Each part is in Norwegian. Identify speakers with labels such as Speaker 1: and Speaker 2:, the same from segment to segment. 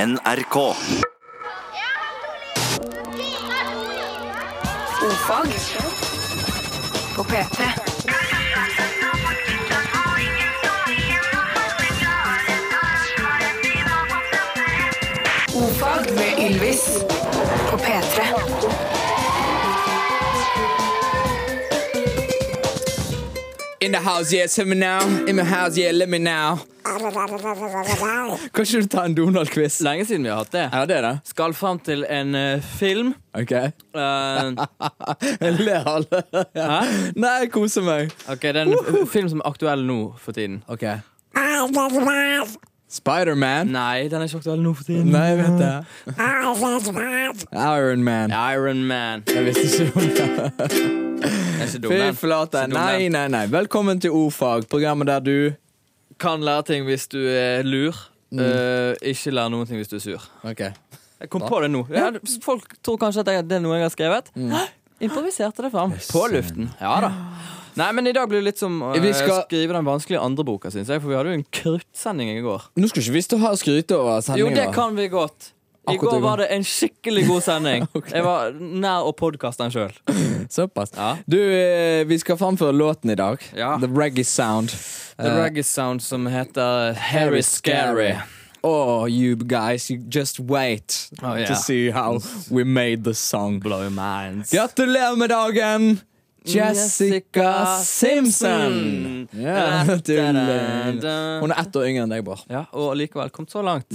Speaker 1: NRK.
Speaker 2: Ofag på P3. Ofag med Ylvis på P3.
Speaker 3: In the house, yeah, send me now. In my house, yeah, let me now. Kan ikke du ta en Donald-quiz?
Speaker 4: Lenge siden vi har hatt det.
Speaker 3: Ja, det er det.
Speaker 4: Skal fram til en eh, film.
Speaker 3: Ok.
Speaker 4: Eh,
Speaker 3: Jeg ler alle.
Speaker 4: hæ?
Speaker 3: Nei, jeg koser meg.
Speaker 4: Ok, Det er en f- film som er aktuell nå for tiden.
Speaker 3: Ok. Spiderman.
Speaker 4: Nei, den er ikke aktuell nå for tiden.
Speaker 3: Nei, jeg vet det. Iron Man.
Speaker 4: Iron Man.
Speaker 3: Jeg visste ikke om det.
Speaker 4: Den er ikke dum,
Speaker 3: Fy
Speaker 4: den.
Speaker 3: flate.
Speaker 4: Ikke dum,
Speaker 3: Nei,
Speaker 4: den.
Speaker 3: nei, nei. Velkommen til Ordfag, programmet der du
Speaker 4: Kan lære ting hvis du er lur. Eh, ikke lære noen ting hvis du er sur.
Speaker 3: Ok.
Speaker 4: Jeg kom på det nå. Ja, folk tror kanskje at jeg, det er noe jeg har skrevet. Hæ? Improviserte det fram. På luften. Ja da. Nei, men i dag blir det litt som å
Speaker 3: Vi skal-
Speaker 4: skrive den vanskelige andre boka, syns jeg. For vi hadde jo en kruttsending i går.
Speaker 3: Nå skal ikke vi stå her og skryte over
Speaker 4: Jo,
Speaker 3: sendinga.
Speaker 4: det kan vi godt. I
Speaker 3: Akkurat
Speaker 4: går
Speaker 3: i
Speaker 4: var
Speaker 3: går.
Speaker 4: det en skikkelig god sending.
Speaker 3: Ok.
Speaker 4: Jeg var nær å podkaste den sjøl.
Speaker 3: Såpass.
Speaker 4: Ja.
Speaker 3: Du, eh, vi skal framføre låten i dag.
Speaker 4: Ja.
Speaker 3: The Reggae Sound. Eh,
Speaker 4: The Reggae Sound som heter Harry Scary.
Speaker 3: Oh, you guys, you just wait
Speaker 4: Oh, yeah.
Speaker 3: to see how we made the song.
Speaker 4: Blow your minds.
Speaker 3: Gratulerer med dagen, Jessica
Speaker 4: Jessica
Speaker 3: Simpson!
Speaker 4: Simpson.
Speaker 3: Ja,
Speaker 4: Da, da,
Speaker 3: tuller.
Speaker 4: da.
Speaker 3: Hun er ett år yngre enn deg, Bård.
Speaker 4: Ja, og likevel kommet så langt.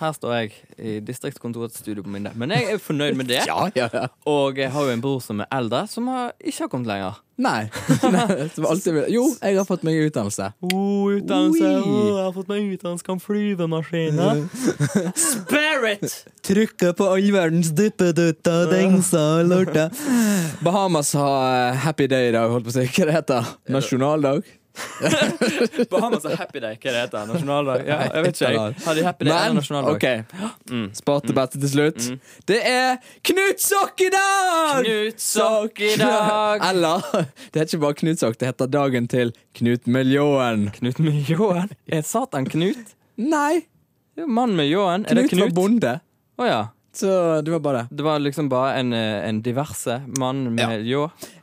Speaker 4: Her står jeg i distriktskontorets studio på Minde. Men jeg er fornøyd med det.
Speaker 3: Ja, ja, ja.
Speaker 4: Og jeg har jo en bror som er eldre, som har, ikke har kommet lenger.
Speaker 3: Nei. Nei, som alltid vil- Jo, jeg har fått meg utdannelse.
Speaker 4: Oh,
Speaker 3: utdannelse. Oi. Å,
Speaker 4: jeg har fått meg utdannelse, kan flyve maskiner. Spirit!
Speaker 3: Trykka på all verdens duppedutta, dengsa og lorta. Bahamas har eh, happy day i dag, holdt på å si. Hva det heter Nasjonaldag?
Speaker 4: Bahamas har altså happy day. Hva det heter det? Nasjonaldag? Ja, jeg vet ikke. jeg. Har de happy day eller
Speaker 3: Men
Speaker 4: nasjonaldag? Mm.
Speaker 3: OK. Sparte beste til slutt. Det er knutsokk i dag!
Speaker 4: Knutsokk i dag!
Speaker 3: Eller Det heter ikke bare knutsokk, det heter dagen til Knut med ljåen.
Speaker 4: Knut med ljåen? Er satan Knut?
Speaker 3: Nei,
Speaker 4: Det er jo mann med ljåen. Er det
Speaker 3: Knut var
Speaker 4: Knut? Å
Speaker 3: bonde.
Speaker 4: ja.
Speaker 3: Så det var bare det.
Speaker 4: Det var liksom bare en, eh, en diverse mann med ljå.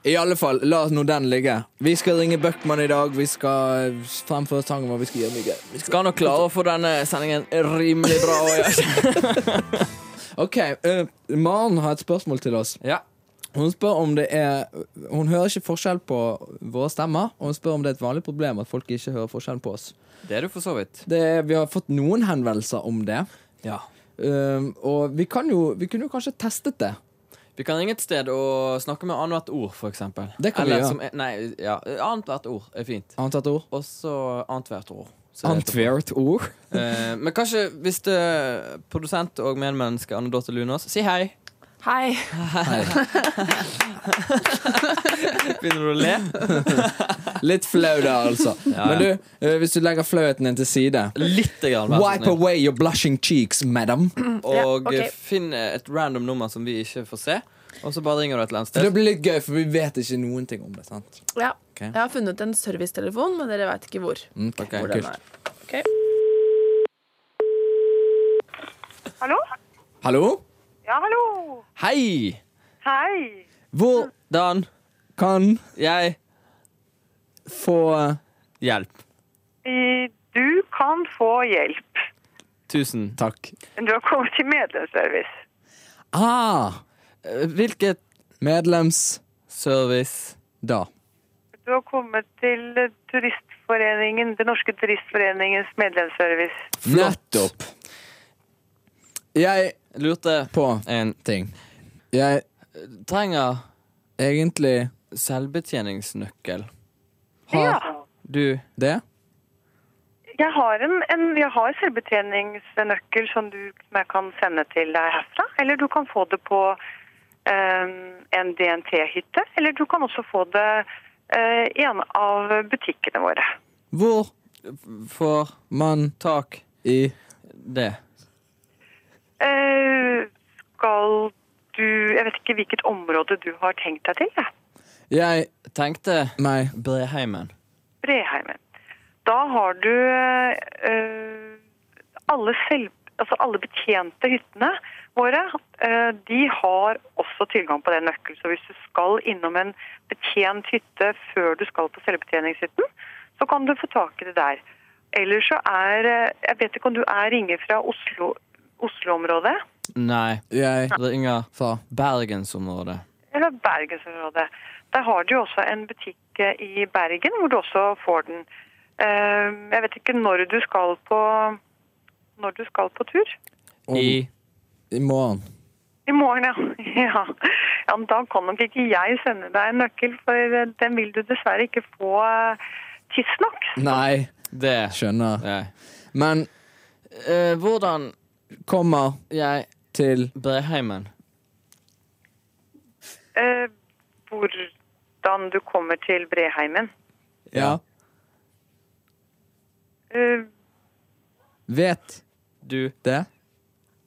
Speaker 3: I alle fall, la nå den ligge. Vi skal ringe Bøckmann i dag. Vi skal eh, fremføre sangen vår. Vi skal gjøre mye gøy. Vi skal-
Speaker 4: Skal nok klare å få denne sendingen rimelig bra. Og jeg.
Speaker 3: OK. eh, Maren har et spørsmål til oss.
Speaker 4: Ja.
Speaker 3: Hun spør om det er Hun hører ikke forskjell på våre stemmer, og hun spør om det er et vanlig problem at folk ikke hører forskjell på oss.
Speaker 4: Det er du for så vidt.
Speaker 3: Det, er- vi har fått noen henvendelser om det,
Speaker 4: Ja.
Speaker 3: um, og vi, kan jo, vi kunne jo kanskje testet det.
Speaker 4: Vi kan ringe et sted og snakke med annethvert ord, for eksempel.
Speaker 3: Det kan vi
Speaker 4: Eller,
Speaker 3: gjøre.
Speaker 4: som er- Nei, ja. Annethvert ord er fint.
Speaker 3: Antatt ord?
Speaker 4: Og så annethvert ord. Så det heter-
Speaker 3: Antwert ord?
Speaker 4: Eh, men kanskje hvis det er produsent og medmenneske Anne Dorthe Lunås Si hei.
Speaker 2: Hei.
Speaker 4: Begynner du å le?
Speaker 3: Litt flau der, altså.
Speaker 4: Ja,
Speaker 3: Men
Speaker 4: ja.
Speaker 3: du, eh, hvis du legger flauheten din til side
Speaker 4: Litt. Grann, vær så
Speaker 3: Wipe
Speaker 4: snill.
Speaker 3: away your blushing cheeks, madam.
Speaker 2: Ja,
Speaker 4: Og
Speaker 2: ok.
Speaker 4: eh, finn et random nummer som vi ikke får se. Og så bare ringer du et eller annet
Speaker 3: Det
Speaker 4: sted.
Speaker 3: blir litt gøy, for vi vet ikke noen ting om det. sant?
Speaker 2: Ja.
Speaker 3: Ok.
Speaker 2: Jeg har funnet en servicetelefon, men dere veit ikke hvor.
Speaker 3: Mm, Ok,
Speaker 4: Ok,
Speaker 2: hvor
Speaker 3: kult.
Speaker 2: den er. Ok.
Speaker 5: Hallo?
Speaker 3: Hallo?
Speaker 5: Ja, hallo.
Speaker 4: Hei!
Speaker 5: Hei.
Speaker 3: Hvordan
Speaker 4: Dan, jeg
Speaker 3: få
Speaker 4: Hjelp.
Speaker 5: Eh, Du kan få hjelp.
Speaker 4: Tusen takk.
Speaker 3: Takk.
Speaker 5: Du har kommet til medlemsservice.
Speaker 3: Ah,
Speaker 4: Eh, Hvilket
Speaker 3: medlems...
Speaker 4: service
Speaker 3: Da.
Speaker 5: Du har kommet til eh, Turistforeningen, Den norske turistforeningens medlemsservice.
Speaker 4: Flott.
Speaker 3: Nettopp. Jeg
Speaker 4: lurte
Speaker 3: på
Speaker 4: en
Speaker 3: ting. Jeg
Speaker 4: Trenger
Speaker 3: egentlig
Speaker 4: selvbetjeningsnøkkel.
Speaker 3: har
Speaker 5: Ja.
Speaker 4: Du
Speaker 3: det.
Speaker 5: Jeg har, en, en, jeg har selvbetjeningsnøkkel som du som jeg kan sende til deg herfra. Eller du kan få det på eh, en DNT-hytte. Eller du kan også få det eh, i en av butikkene våre.
Speaker 3: Hvor
Speaker 4: får
Speaker 3: man
Speaker 4: tak
Speaker 3: i
Speaker 4: det.
Speaker 5: Eh, skal du Jeg vet ikke hvilket område du har tenkt deg til. Ja.
Speaker 3: Jeg
Speaker 4: Tenkte
Speaker 3: meg
Speaker 4: Breheimen.
Speaker 5: Breheimen. Da har du eh, alle selv, altså alle betjente hyttene våre, eh, de har også tilgang på den nøkkelen. Så hvis du skal innom en betjent hytte før du skal på selvbetjeningshytten, så kan du få tak i det der. Ellers så er eh, Jeg vet ikke om du er ringer fra Oslo Oslo-området
Speaker 4: Nei.
Speaker 3: Jeg
Speaker 4: Det er Inga
Speaker 3: sa
Speaker 4: Bergensområdet.
Speaker 5: eller Bergensområdet. Der har de jo også en butikk eh, i Bergen hvor du også får den. Eh, Jeg vet ikke når du skal på når du skal på tur.
Speaker 3: om
Speaker 4: I
Speaker 3: i morgen.
Speaker 5: I morgen, ja. ja. ja men da kan nok ikke jeg sende deg en nøkkel, for eh, den vil du dessverre ikke få eh, tidsnok.
Speaker 3: Nei,
Speaker 4: det.
Speaker 3: skjønner.
Speaker 4: Nei.
Speaker 3: Men
Speaker 4: Eh, hvordan
Speaker 3: kommer
Speaker 4: jeg
Speaker 3: til
Speaker 4: Breheimen.
Speaker 5: Eh, Hvordan du kommer til Breheimen.
Speaker 3: Ja,
Speaker 5: Eh,
Speaker 3: vet
Speaker 4: Du
Speaker 3: det?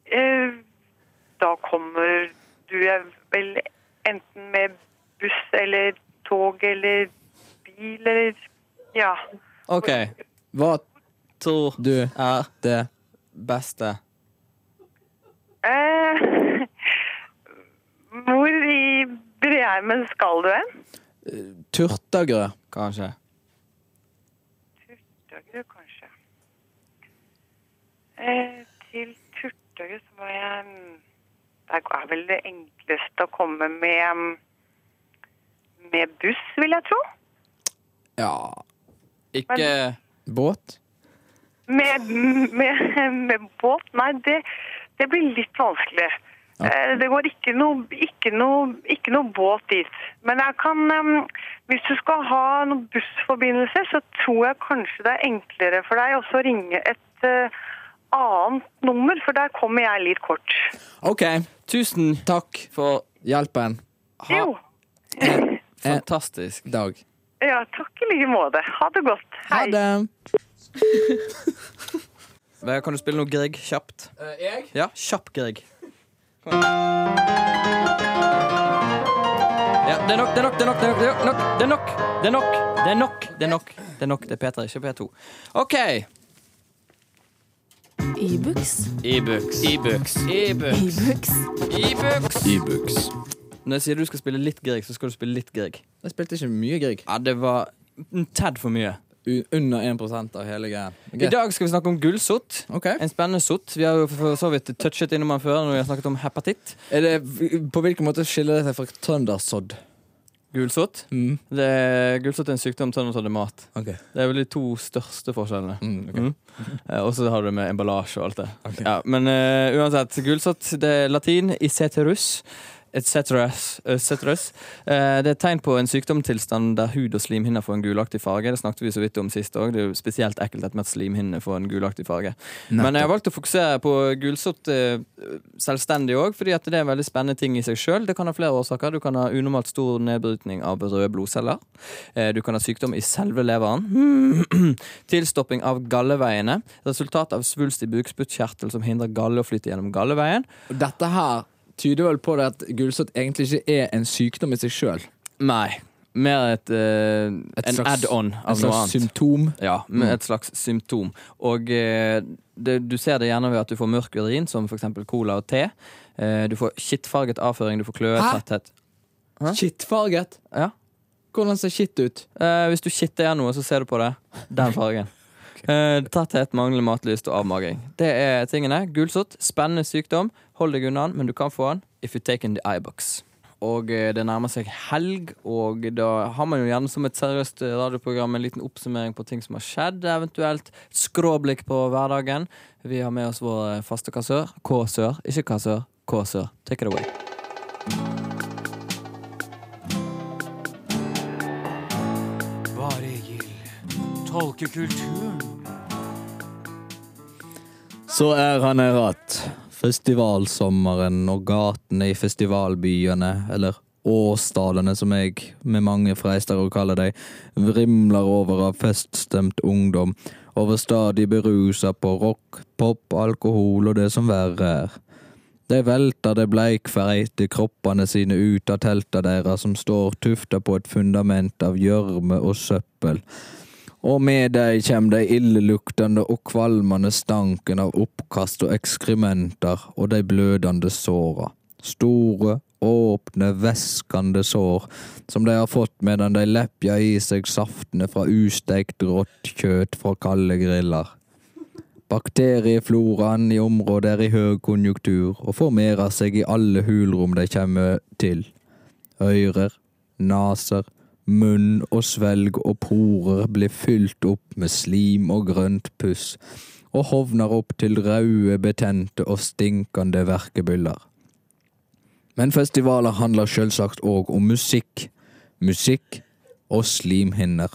Speaker 5: eh, Da kommer du eh, vel enten med buss eller tog eller bil eller Ja.
Speaker 4: OK.
Speaker 3: Hva
Speaker 4: Tror
Speaker 3: du
Speaker 4: er
Speaker 3: det?
Speaker 4: beste.
Speaker 5: Eh, Hvor i Breheimen skal du hen?
Speaker 3: Turtagrø.
Speaker 4: Kanskje.
Speaker 5: Turtøye, kanskje. Eh, til Turtøye så må jeg mm, Det er vel det enkleste å komme med mm, med buss, vil jeg tro.
Speaker 3: Ja
Speaker 4: Ikke
Speaker 3: Båt?
Speaker 5: Med, med, med båt? Nei, det, det blir litt vanskelig. Eh, Det går ikke noe, ikke, noe, ikke noe båt dit. Men jeg kan em, Hvis du skal ha noen bussforbindelser, så tror jeg kanskje det er enklere for deg også å ringe et eh, annet nummer, for der kommer jeg litt kort.
Speaker 3: OK.
Speaker 4: Tusen
Speaker 3: Takk
Speaker 4: for
Speaker 3: hjelpen.
Speaker 4: ha
Speaker 5: Jo.
Speaker 3: Eh.
Speaker 4: fantastisk
Speaker 3: Dag.
Speaker 5: Ja, takk i like måte. Ha det godt.
Speaker 3: Ha
Speaker 5: Hei.
Speaker 3: det.
Speaker 4: Vegard, Kan du spille noe Grieg kjapt?
Speaker 3: jeg?
Speaker 4: Ja, kjapp Grieg. Kom igjen. Ja, det er nok, det er nok, det er nok, det er nok, det er nok, det er nok, det er nok, det er nok, det er nok, det er P3, ikke P2. OK.
Speaker 2: E-books.
Speaker 4: E-books. E-books. E-books.
Speaker 2: E-books.
Speaker 4: E-books.
Speaker 3: E-books.
Speaker 4: Når jeg sier du skal spille litt Grieg, så skal du spille litt Grieg.
Speaker 3: Jeg spilte ikke mye Grieg.
Speaker 4: Ja, det var en tad for mye.
Speaker 3: U under 1 av hele greia.
Speaker 4: I dag skal vi snakke om gulsott.
Speaker 3: OK.
Speaker 4: En spennende sott. Vi har jo for så vidt touchet innom den før når vi har snakket om hepatitt.
Speaker 3: Er det, på hvilken måte skiller det seg fra trøndersodd?
Speaker 4: Gulsott.
Speaker 3: Mm.
Speaker 4: Det er, gulsott er en sykdom, trøndersodd er mat.
Speaker 3: Ok.
Speaker 4: Det er vel de to største forskjellene.
Speaker 3: Mm, ok.
Speaker 4: Mm. Eh, Og så har du det med emballasje og alt det.
Speaker 3: Ok.
Speaker 4: Ja, men eh, uansett, gulsott det er latin iseterus. Et ceteris, eh, ceteris. Eh, det er et tegn på en sykdomstilstand der hud og slimhinner får en gulaktig farge. Det snakket vi så vidt om sist òg. Det er jo spesielt ekkelt dette med at slimhinnene får en gulaktig farge. Men jeg har valgt å fokusere på gulsott eh, selvstendig òg, fordi at det er en veldig spennende ting i seg sjøl. Det kan ha flere årsaker. Du kan ha unormalt stor nedbrytning av røde blodceller. Eh, Du kan ha sykdom i selve leveren. Tilstopping av galleveiene. Resultat av svulst i bukspyttkjertel som hindrer galle å flytte gjennom galleveien.
Speaker 3: Dette her tyder vel på det at gulsott egentlig ikke er en sykdom i seg sjøl.
Speaker 4: Nei. Mer et, eh, en
Speaker 3: slags-
Speaker 4: add-on
Speaker 3: Et
Speaker 4: av noe
Speaker 3: slags Mm.
Speaker 4: annet.
Speaker 3: symptom.
Speaker 4: Ja, med et slags symptom. Og eh, det, du ser det gjerne ved at du får mørk urin, som f.eks. cola og te. Eh, du får kittfarget avføring, du får
Speaker 3: Hæ?
Speaker 4: kløetetthet. Hæ?
Speaker 3: Skittfarget.
Speaker 4: Ja.
Speaker 3: Hvordan ser skitt ut?
Speaker 4: Eh, hvis du kitter igjen noe, så ser du på det. Den fargen. Eh, Tretthet, manglende matlyst og avmagring. Det er tingene. Gulsott, spennende sykdom. Hold deg unna den, men du kan få den if you take in the eyebox. Og eh, det nærmer seg helg, og da har man jo gjerne som et seriøst eh, radioprogram en liten oppsummering på ting som har skjedd, eventuelt skråblikk på hverdagen. Vi har med oss vår eh, faste kassør, K-sør, ikke kassør, K-sør. Take it away.
Speaker 3: Så er han her att. Festivalsommeren og gatene i festivalbyene, eller åsdalene som jeg med mange freister å kalle dem, vrimler over av feststemt ungdom, overstadig berusa på rock, pop, alkohol og det som verre er. De velter de bleikfeite kroppene sine ut av telta deres som står tufta på et fundament av gjørme og søppel. og med dei kjem dei illeluktande og kvalmande stanken av oppkast og ekskrementer og dei blødande såra. Store, åpne, væskande sår som dei har fått medan dei lepja i seg saftene fra usteikt rått kjøtt fra kalde griller. Bakteriefloraen i området er i høg konjunktur og formerer seg i alle hulrom de kommer til. Øyrer, naser, munn og svelg og porer blir fylt opp med slim og grønt puss, og hovner opp til røde, betente og stinkende verkebyller. Men festivaler handler selvsagt òg om musikk. Musikk og slimhinner.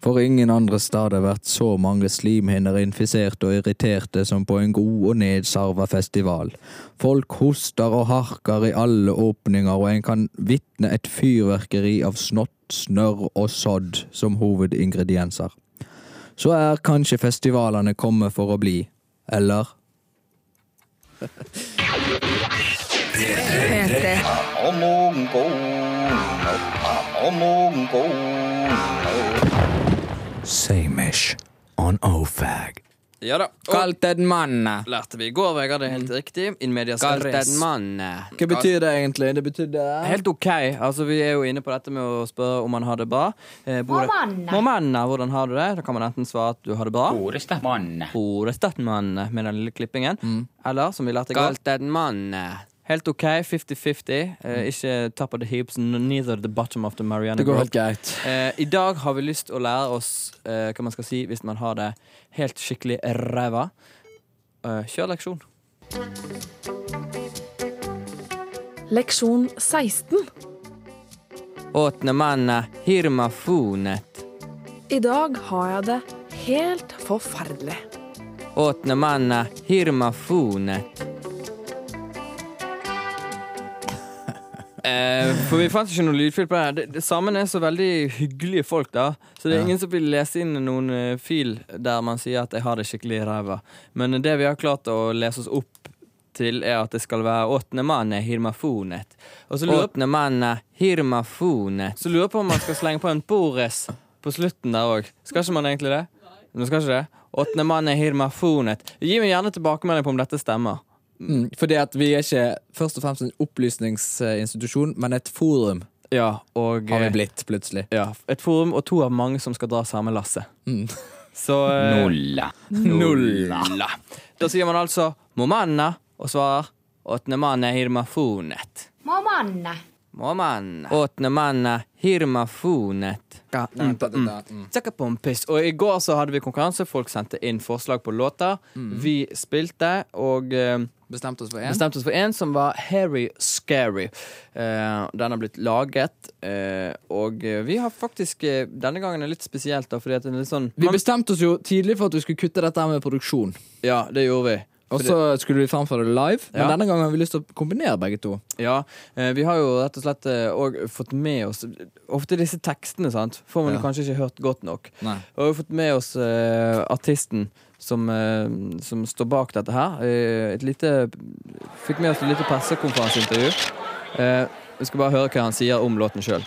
Speaker 3: For ingen andre steder vært så mange slimhinner infiserte og irriterte som på en god og nedsarva festival. Folk hoster og harker i alle åpninger, og en kan vitne et fyrverkeri av snott, snørr og sodd som hovedingredienser. Så er kanskje festivalene kommet for å bli. Eller? Samish on OFAG.
Speaker 4: Ja da. Og
Speaker 1: Kalt en mann.
Speaker 4: lærte vi i går, Vegard. Det er helt riktig. In medias
Speaker 1: Kalt
Speaker 4: res.
Speaker 1: en mann.
Speaker 3: Hva betyr det egentlig? Det betyr det
Speaker 4: Helt ok. altså Vi er jo inne på dette med å spørre om man har det bra. Eh, bor-
Speaker 6: Mormanna.
Speaker 4: Mormanna, hvordan har du det? Da kan man enten svare at du har det bra.
Speaker 1: Ordet er mann.
Speaker 4: Ordet er mann med den lille klippingen. Eller, som vi lærte i går
Speaker 1: Kalt en mann.
Speaker 4: Helt ok, 50-50. Eh, ikke top of the heaps, n- neither the bottom of the Mariana
Speaker 3: Det går
Speaker 4: Grove.
Speaker 3: helt greit.
Speaker 4: Eh, I dag har vi lyst å lære oss eh, hva man skal si hvis man har det helt skikkelig ræva. Eh, kjør leksjon.
Speaker 2: Leksjon 16.
Speaker 4: Åtne manna hirmafonet.
Speaker 2: I dag har jeg det helt forferdelig.
Speaker 4: Åtne manna hirmafonet. Eh, for vi fant ikke noe lydfil på det her. Det- det- Samene er så veldig hyggelige folk, da. Så det er
Speaker 3: Ja.
Speaker 4: ingen som vil lese inn noen eh, fil der man sier at 'jeg har det skikkelig i ræva'. Men eh, det vi har klart å lese oss opp til, er at det skal være 'åttende mann er hirmafonet'. Og så lurer,
Speaker 1: Åpne mannet, hirmafonet.
Speaker 4: så lurer jeg på om man skal slenge på en Boris på slutten der òg. Skal ikke man egentlig det? Man skal ikke det? Åttende mann er hirmafonet. Gi meg gjerne tilbakemelding på om dette stemmer.
Speaker 3: Mm, fordi at vi er ikke først og fremst en opplysningsinstitusjon, men et forum
Speaker 4: Ja, og
Speaker 3: har vi
Speaker 4: eh,
Speaker 3: blitt, plutselig.
Speaker 4: Ja, et forum og to av mange som skal dra samme lasse. Så eh,
Speaker 1: Nulla.
Speaker 4: nulla. Da sier man altså 'momanna' og svarer 'åtne manne hirmafonet'.
Speaker 6: Mamanna.
Speaker 4: Momanna. Åtne manne hirmafonet.
Speaker 3: Mm.
Speaker 4: Tsakkapompis. Mm. Og i går så hadde vi konkurranse. Folk sendte inn forslag på låter. Vi spilte, og eh,
Speaker 3: Bestemte oss for én.
Speaker 4: bestemte oss for en som var Harry Scary. Eh, den har blitt laget, eh, og eh, vi har faktisk eh, Denne gangen er litt spesielt, da, fordi at den er litt sånn
Speaker 3: Vi bestemte oss jo tidlig for at vi skulle kutte dette her med produksjon.
Speaker 4: Ja, det gjorde vi.
Speaker 3: Og så skulle vi framføre det live, men
Speaker 4: Ja.
Speaker 3: denne gangen har vi lyst til å kombinere begge to.
Speaker 4: Ja, eh, Vi har jo rett og slett òg fått med oss Ofte disse tekstene sant? får man
Speaker 3: Ja.
Speaker 4: kanskje ikke hørt godt nok.
Speaker 3: Nei.
Speaker 4: Og vi har fått med oss eh, artisten som, eh, som står bak dette her. Eh, et lite Fikk med oss et lite pressekonferanseintervju. Eh, vi skal bare høre hva han sier om låten sjøl.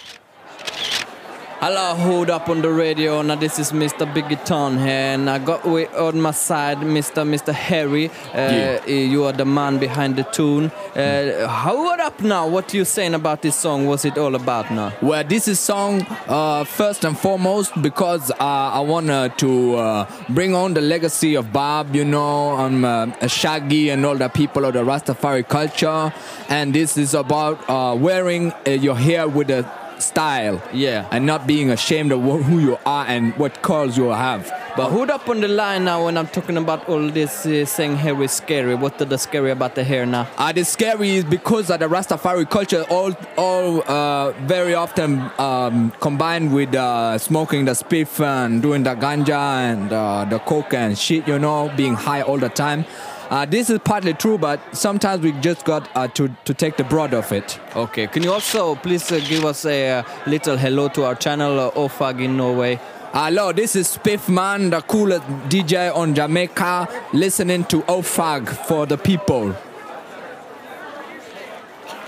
Speaker 4: Hello, hold up on the radio. Now this is Mr. Biggie Town here, and I got we on my side, Mr. Mr. Harry. Uh, You are the man behind the tune. Uh, hold up now. What you saying about this song? What's it all about now?
Speaker 3: Well, this is song uh, first and foremost because uh, I wanna to uh, bring on the legacy of Bob, you know, um, uh, Shaggy and all the people of the Rastafari culture, and this is about uh, wearing uh, your hair with a style,
Speaker 4: Yeah.
Speaker 3: and not being ashamed of wh- who you are and what colors you have.
Speaker 4: But hold up on the line now when I'm talking about all this uh, saying Harry scary. What the scary about the hair now?
Speaker 3: Uh, the scary is because of the Rastafari culture, all, all uh, very often um, combined with uh, smoking the spiff and doing the ganja and uh, the coke and shit, you know, being high all the time. Uh, this is partly true, but sometimes we just got uh, to, to take the broad of it.
Speaker 4: Okay, can you also please uh, give us a uh, little hello to our channel uh, Ofag in Norway?
Speaker 3: Hello, this is Spiff Man, the coolest DJ on Jamaica, listening to OFAG for the people.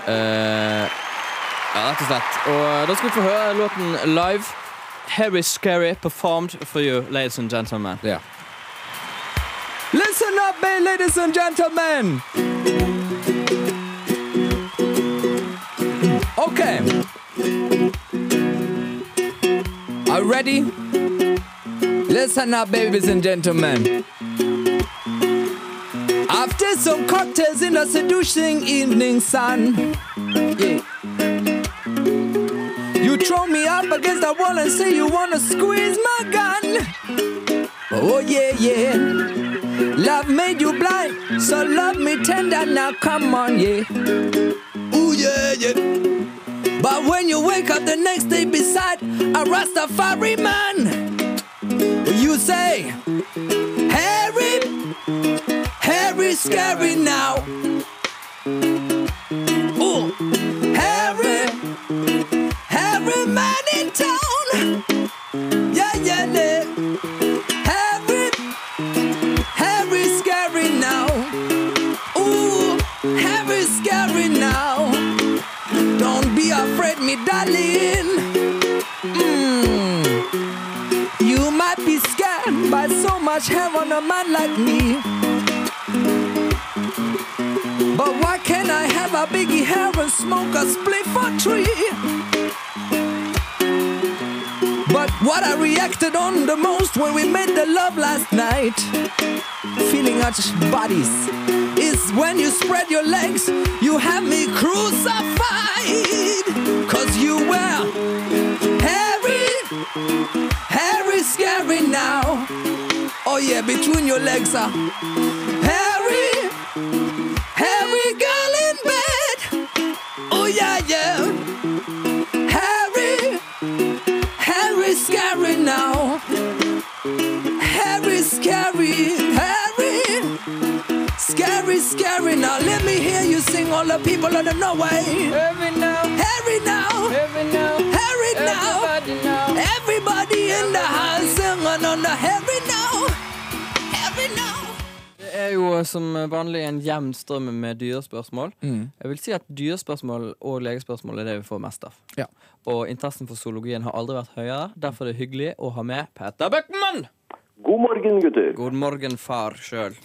Speaker 4: Ja, rett og slett. Og da skal vi få høre låten live. Harry Scary performed for you, ladies and gentlemen.
Speaker 3: Ja. Listen up, my ladies and gentlemen! Okay. Are you ready? Listen up, babies and gentlemen. After some cocktails in the seducing evening sun, yeah. you throw me up against the wall and say you wanna squeeze my gun. Oh yeah, yeah. Love made you blind, so love me tender now. Come on, yeah. Ooh yeah, yeah. But when you wake up the next day beside a Rastafari man, you say, Harry, Harry, scary now. Ooh, Harry, Harry, man in town. Yeah, yeah, yeah. Harry, Harry scary now. Ooh, Harry scary now. Don't be afraid, me darling. Mm. You might be scared by so much hair on a man like me. But why can't I have a biggie hair and smoke a split for three? But what I reacted on the most when we made the love last night, feeling our bodies, is when you spread your legs, you have me crucified. Cause you were hairy, hairy, scary now. Oh yeah, between your legs uh. are hairy, hairy girl in bed. Oh yeah, yeah. Hairy, Harry scary now. Harry scary, Harry scary, scary now. Let me hear you sing all the people of the Norway.
Speaker 4: Every now,
Speaker 3: Harry now,
Speaker 4: every now,
Speaker 3: Harry now.
Speaker 4: now.
Speaker 3: Everybody in the house singing on the Harry now, Harry now.
Speaker 4: Det er jo eh, som vanlig en jevn strøm med dyrespørsmål.
Speaker 3: Mm.
Speaker 4: Jeg vil si at dyrespørsmål og legespørsmål er det vi får mest av.
Speaker 3: Ja.
Speaker 4: Og interessen for zoologien har aldri vært høyere. Derfor er det hyggelig å ha med Petter Bøckmann!
Speaker 6: God morgen, gutter.
Speaker 4: God morgen, far sjøl.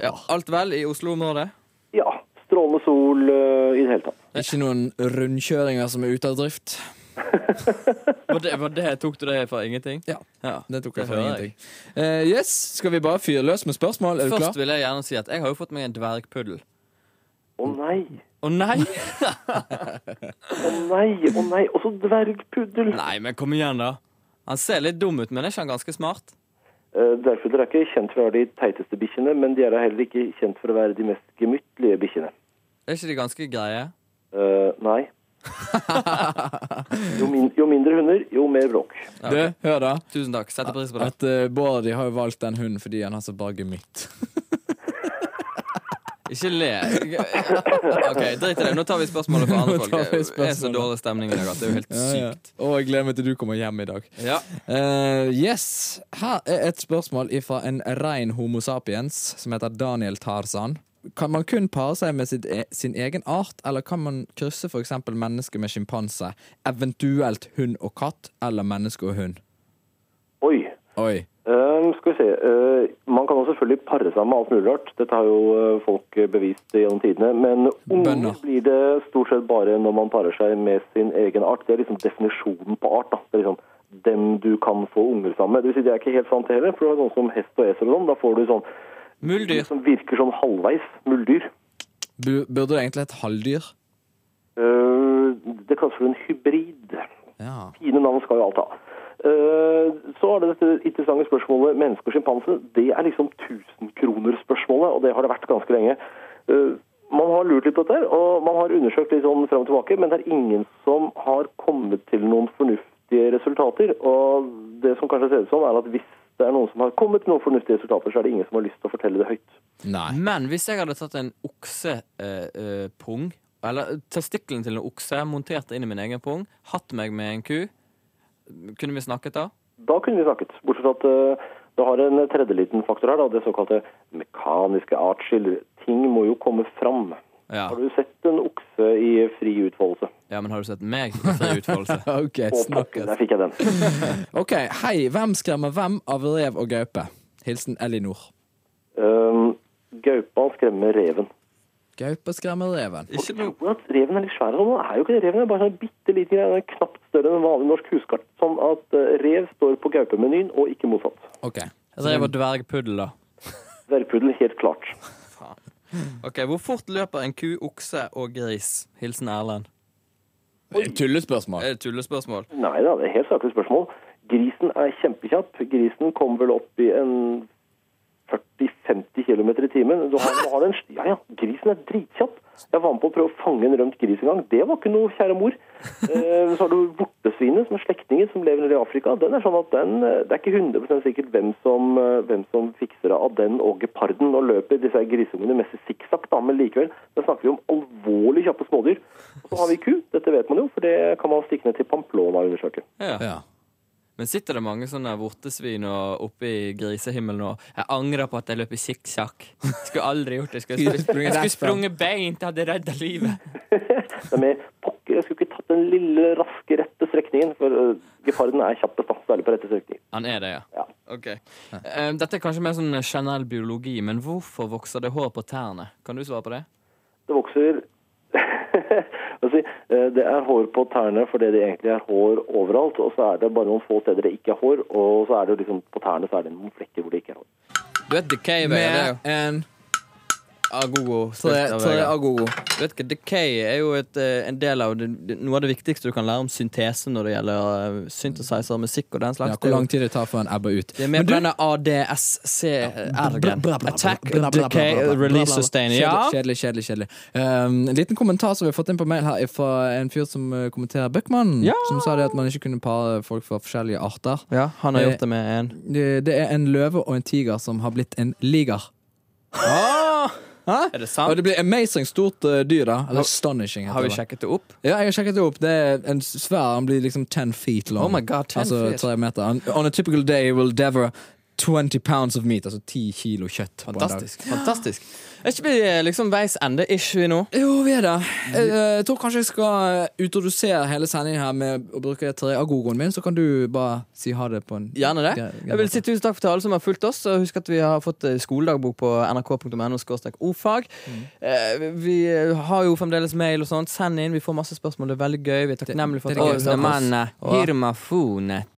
Speaker 4: ja, alt vel i Oslo-området?
Speaker 6: Ja, strålende sol eh, i det hele tatt.
Speaker 3: er Ikke noen rundkjøringer som er ute av drift.
Speaker 4: Var det, var det, tok du det fra ingenting?
Speaker 3: Ja,
Speaker 4: Ja.
Speaker 3: det tok jeg
Speaker 4: Det
Speaker 3: for
Speaker 4: hører
Speaker 3: ingenting. Eh, yes, skal vi bare fyre løs med spørsmål? Er du
Speaker 4: Først
Speaker 3: klar?
Speaker 4: vil jeg gjerne si at jeg har jo fått meg en dvergpuddel.
Speaker 6: Å nei,
Speaker 4: Å nei!
Speaker 6: å nei, å nei. Og så dvergpuddel.
Speaker 4: nei, men kom igjen, da. Han ser litt dum ut, men er ikke han ganske smart?
Speaker 6: Eh, Dvergpudler er ikke kjent for å være de teiteste bikkjene, men de er da heller ikke kjent for å være de mest gemyttlige bikkjene.
Speaker 4: Er ikke de ganske greie?
Speaker 6: Eh, nei. Jo, min, jo mindre hunder, jo mer bråk.
Speaker 3: Du, hør da.
Speaker 4: Tusen takk. Setter pris på det.
Speaker 3: At eh, Bård de har jo valgt den hunden fordi han har så bra gemytt.
Speaker 4: Ikke le. Ok, Drit i det. Nå tar vi spørsmålet fra andre
Speaker 3: Nå
Speaker 4: folk.
Speaker 3: tar vi
Speaker 4: Det er så
Speaker 3: spørsmålet.
Speaker 4: dårlig stemning i dag at det er jo helt
Speaker 3: Ja, ja.
Speaker 4: sykt.
Speaker 3: Og jeg gleder meg til du kommer hjem i dag.
Speaker 4: Ja.
Speaker 3: Eh, yes, Her er et spørsmål fra en rein homo sapiens som heter Daniel Tarzan. Kan man kun pare seg med sitt e sin egen art, eller kan man krysse f.eks. menneske med sjimpanse? Eventuelt hund og katt, eller menneske og hund?
Speaker 6: Oi.
Speaker 3: Oi.
Speaker 6: Eh, skal vi se. Eh, man kan jo selvfølgelig pare seg med alt mulig rart. Dette har jo eh, folk eh, bevist gjennom tidene. Men
Speaker 3: Bønner.
Speaker 6: unger blir det stort sett bare når man parer seg med sin egen art. Det er liksom definisjonen på art. da. Det er liksom dem du kan få unger sammen med. Det, vil si, det er ikke helt sant det heller. For du har sånn som hest og esel og sånn. Da får du sånn
Speaker 4: Muldyr.
Speaker 6: som virker sånn halvveis muldyr.
Speaker 3: Bu- Burde det egentlig hett halvdyr?
Speaker 6: Eh, det kalles for en hybrid.
Speaker 3: Ja.
Speaker 6: Fine navn skal jo alt ha. Eh, Så er det dette interessante spørsmålet menneske og sjimpanse. Det er liksom 1000-kroner-spørsmålet, og det har det vært ganske lenge. Eh, Man har lurt litt på dette, og man har undersøkt litt sånn frem og tilbake, men det er ingen som har kommet til noen fornuftige resultater. Og det som kanskje ser ut som, er at hvis det er noen som har kommet til noen fornuftige resultater, så er det ingen som har lyst til å fortelle det høyt.
Speaker 3: Nei.
Speaker 4: Men hvis jeg hadde tatt en oksepung, eller testikkelen til en okse, montert det inn i min egen pung, hatt meg med en ku, kunne vi snakket da?
Speaker 6: Da kunne vi snakket. Bortsett fra at eh, det har en tredje liten faktor her, da, det såkalte mekaniske artsskiller. Ting må jo komme fram.
Speaker 4: Ja.
Speaker 6: Har du sett en okse i fri utfoldelse?
Speaker 4: ja, men har du sett meg i fri utfoldelse?
Speaker 3: OK,
Speaker 6: Å, pokker,
Speaker 3: snakkes.
Speaker 6: der fikk jeg den.
Speaker 3: Ok, Hei, hvem skremmer hvem av rev og gaupe? Hilsen Elinor.
Speaker 6: Um, Gaupa skremmer reven.
Speaker 3: Gaupe skremmer reven.
Speaker 4: Ikke noe
Speaker 6: Tror at reven er litt svær og sånn. Den er jo ikke det. Reven er bare en bitte liten greie. Den er knapt større enn en vanlig norsk huskart. Sånn at eh, rev står på gaupemenyen, og ikke motsatt.
Speaker 3: Ok.
Speaker 4: Rev og dvergpuddel, da.
Speaker 6: Dvergpuddel, helt klart.
Speaker 4: Ok, Hvor fort løper en ku, okse og gris? Hilsen Erlend.
Speaker 3: Tullespørsmål.
Speaker 4: Er det tullespørsmål?
Speaker 6: Nei da, det er helt saklig spørsmål. Grisen er kjempekjapp. Grisen kom vel opp i en 40-50 km i timen. Du har, du har en, ja, ja, grisen er dritkjapp. Jeg var med på å prøve å fange en rømt gris en gang. Det var ikke noe, kjære mor. Eh, så har du vortesvinet, som er slektninger som lever nede i Afrika. Den er sånn at den, eh, Det er ikke 100 sikkert hvem som, eh, hvem som fikser det av den og geparden. Nå løper disse her grisungene mest i sikksakk, da, men likevel. Da snakker vi om alvorlig kjappe smådyr. Og så har vi ku. Dette vet man jo, for det kan man stikke ned til Pamplona og undersøke.
Speaker 4: Ja.
Speaker 3: Ja.
Speaker 4: Men sitter det mange sånne vortesvin og oppe i grisehimmelen og Jeg angrer på at jeg løp i sikksakk. Skulle aldri gjort det. Skulle,
Speaker 3: Skulle sprunget
Speaker 4: jeg
Speaker 3: rett
Speaker 4: skulle
Speaker 3: frem.
Speaker 4: sprunget beint. Hadde redda livet.
Speaker 6: Det er med pokker, jeg skulle ikke tatt den lille, raske, rette strekningen, for eh, geparden er kjappest, da, særlig på rette strekning.
Speaker 4: Han er det, ja.
Speaker 6: Ja.
Speaker 4: Ok. Eh, Dette er kanskje mer sånn generell biologi, men hvorfor vokser det hår på tærne? Kan du svare på det?
Speaker 6: Det vokser altså, eh, Det er hår på tærne fordi det egentlig er hår overalt, og så er det bare noen få steder det ikke er hår, og så er det jo liksom på tærne så er det noen flekker hvor det ikke er hår.
Speaker 4: Du vet decay,
Speaker 3: Med en
Speaker 4: Agogo.
Speaker 3: tre, tre agogo.
Speaker 4: Du vet ikke, Decay er jo et, eh, en del av det, det- noe av det viktigste du kan lære om syntese når det gjelder eh, synthesizer, musikk og den slags.
Speaker 3: Ja, hvor lang tid det tar før en ebber ut.
Speaker 4: Det er med
Speaker 3: Men
Speaker 4: på
Speaker 3: du-
Speaker 4: denne ADSCR-gen.
Speaker 3: Bla, bla, bla,
Speaker 4: Attack,
Speaker 3: bla, bla, bla, bla,
Speaker 4: decay,
Speaker 3: bla, bla, bla.
Speaker 4: release,
Speaker 3: Bla, bla.
Speaker 4: sustain.
Speaker 3: Kjedelig,
Speaker 4: Ja.
Speaker 3: Kjedelig, kjedelig. kjedelig. Um, en liten kommentar som vi har fått inn på mail her er fra en fyr som uh, kommenterer Bøckmann,
Speaker 4: Ja.
Speaker 3: som sa det at man ikke kunne pare folk fra forskjellige arter.
Speaker 4: Ja, han har
Speaker 3: Eh,
Speaker 4: gjort det med en.
Speaker 3: Det, det er en løve og en tiger som har blitt en liger.
Speaker 4: Er det
Speaker 3: Og
Speaker 4: sant?
Speaker 3: det blir amazing stort uh, dyr, da. Eller astonishing. heter
Speaker 4: Har vi
Speaker 3: det.
Speaker 4: sjekket det opp?
Speaker 3: Ja, jeg har sjekket det opp. Det er en svær Han blir liksom 10 feet long.
Speaker 4: Oh my God, 10
Speaker 3: altså
Speaker 4: feet.
Speaker 3: tre meter. Han, on a typical day will devour 20 pounds of meat, altså 10 kilo kjøtt. på en dag.
Speaker 4: Fantastisk. fantastisk Er ikke vi eh, liksom veis ende? Ikke vi nå?
Speaker 3: Jo, vi er det. Jeg, jeg tror kanskje jeg skal eh, introdusere hele sendingen her med å bruke treagogoen min, så kan du bare si ha det på en
Speaker 4: Gjerne det.
Speaker 3: Gre- grei
Speaker 4: Jeg vil
Speaker 3: måte.
Speaker 4: si tusen takk for til alle som har fulgt oss. Og husk at vi har fått eh, skoledagbok på nrk.no ofag. Vi eh, har jo fremdeles mail og sånt. Send inn. Vi får masse spørsmål. Det er veldig gøy. Vi er takknemlige for
Speaker 3: det er
Speaker 4: at
Speaker 3: gøy.
Speaker 4: alle hører oss.
Speaker 1: Manna,
Speaker 4: Ja.
Speaker 1: hirmafone.